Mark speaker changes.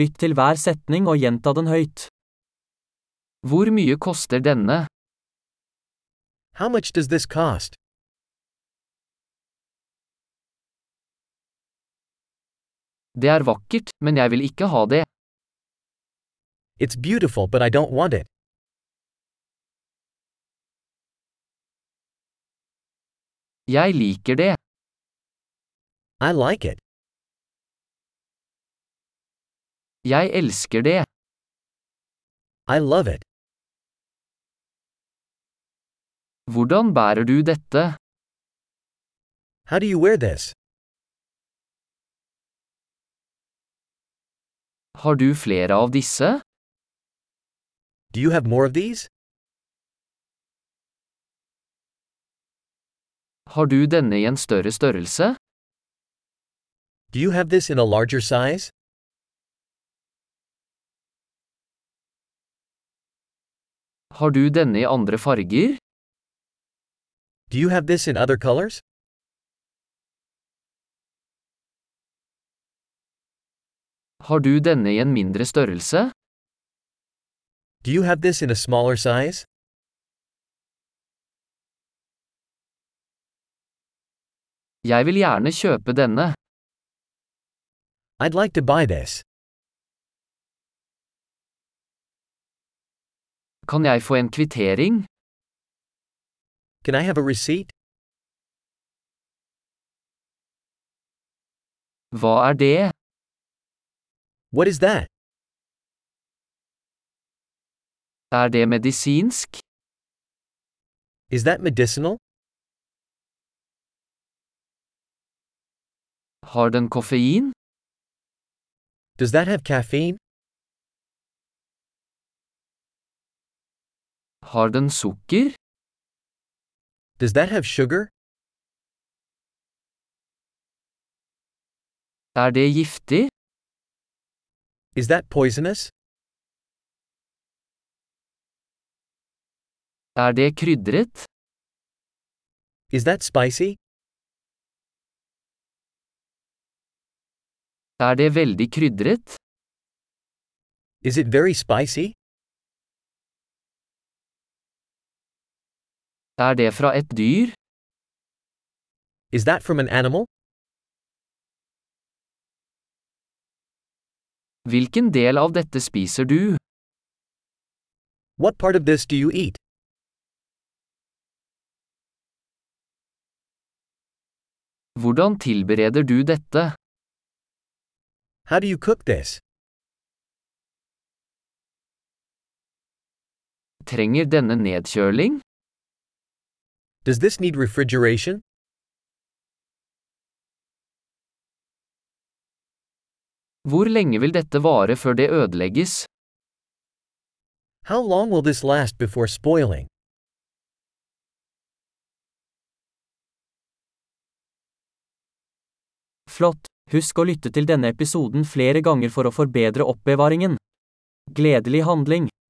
Speaker 1: Lytt til hver setning og gjenta den høyt.
Speaker 2: Hvor mye koster denne?
Speaker 3: How much does this cost?
Speaker 2: Det er vakkert, men jeg vil ikke ha det.
Speaker 3: It's beautiful, but I don't want it.
Speaker 2: Jeg liker det.
Speaker 3: I like it.
Speaker 2: Jeg elsker det.
Speaker 3: I love it.
Speaker 2: Hvordan bærer du dette?
Speaker 3: How do you wear this?
Speaker 2: Har du flere av disse?
Speaker 3: Do you have more of these?
Speaker 2: Har du denne i en større størrelse?
Speaker 3: Do you have this in a larger size?
Speaker 2: Har du denne i andre farger?
Speaker 3: Do you have this in other colors?
Speaker 2: Har du denne i en mindre størrelse?
Speaker 3: Do you have this in a smaller size?
Speaker 2: Jeg vil gjerne kjøpe denne.
Speaker 3: I'd like to buy this.
Speaker 2: Kan jeg få en kvittering?
Speaker 3: Can I have a receipt?
Speaker 2: Hva er det?
Speaker 3: What is that?
Speaker 2: Er det medisinsk?
Speaker 3: Is that medicinal?
Speaker 2: Har den koffein?
Speaker 3: Does that have caffeine?
Speaker 2: Har den sukker?
Speaker 3: Does that have sugar?
Speaker 2: Er det giftig?
Speaker 3: Is that poisonous?
Speaker 2: Er det krydret?
Speaker 3: Is that spicy?
Speaker 2: Er det veldig krydret?
Speaker 3: Is it very spicy?
Speaker 2: Er det fra et dyr?
Speaker 3: Is that from an animal?
Speaker 2: Hvilken del av dette spiser du?
Speaker 3: What part of this do you eat?
Speaker 2: Hvordan tilbereder du dette?
Speaker 3: How do you cook this?
Speaker 2: Trenger denne nedkjøling?
Speaker 3: Does this need refrigeration?
Speaker 2: Hvor lenge vil dette vare før det ødelegges?
Speaker 3: How long will this last before spoiling?
Speaker 1: Flott! Husk å lytte til denne episoden flere ganger for å forbedre oppbevaringen. Gledelig handling!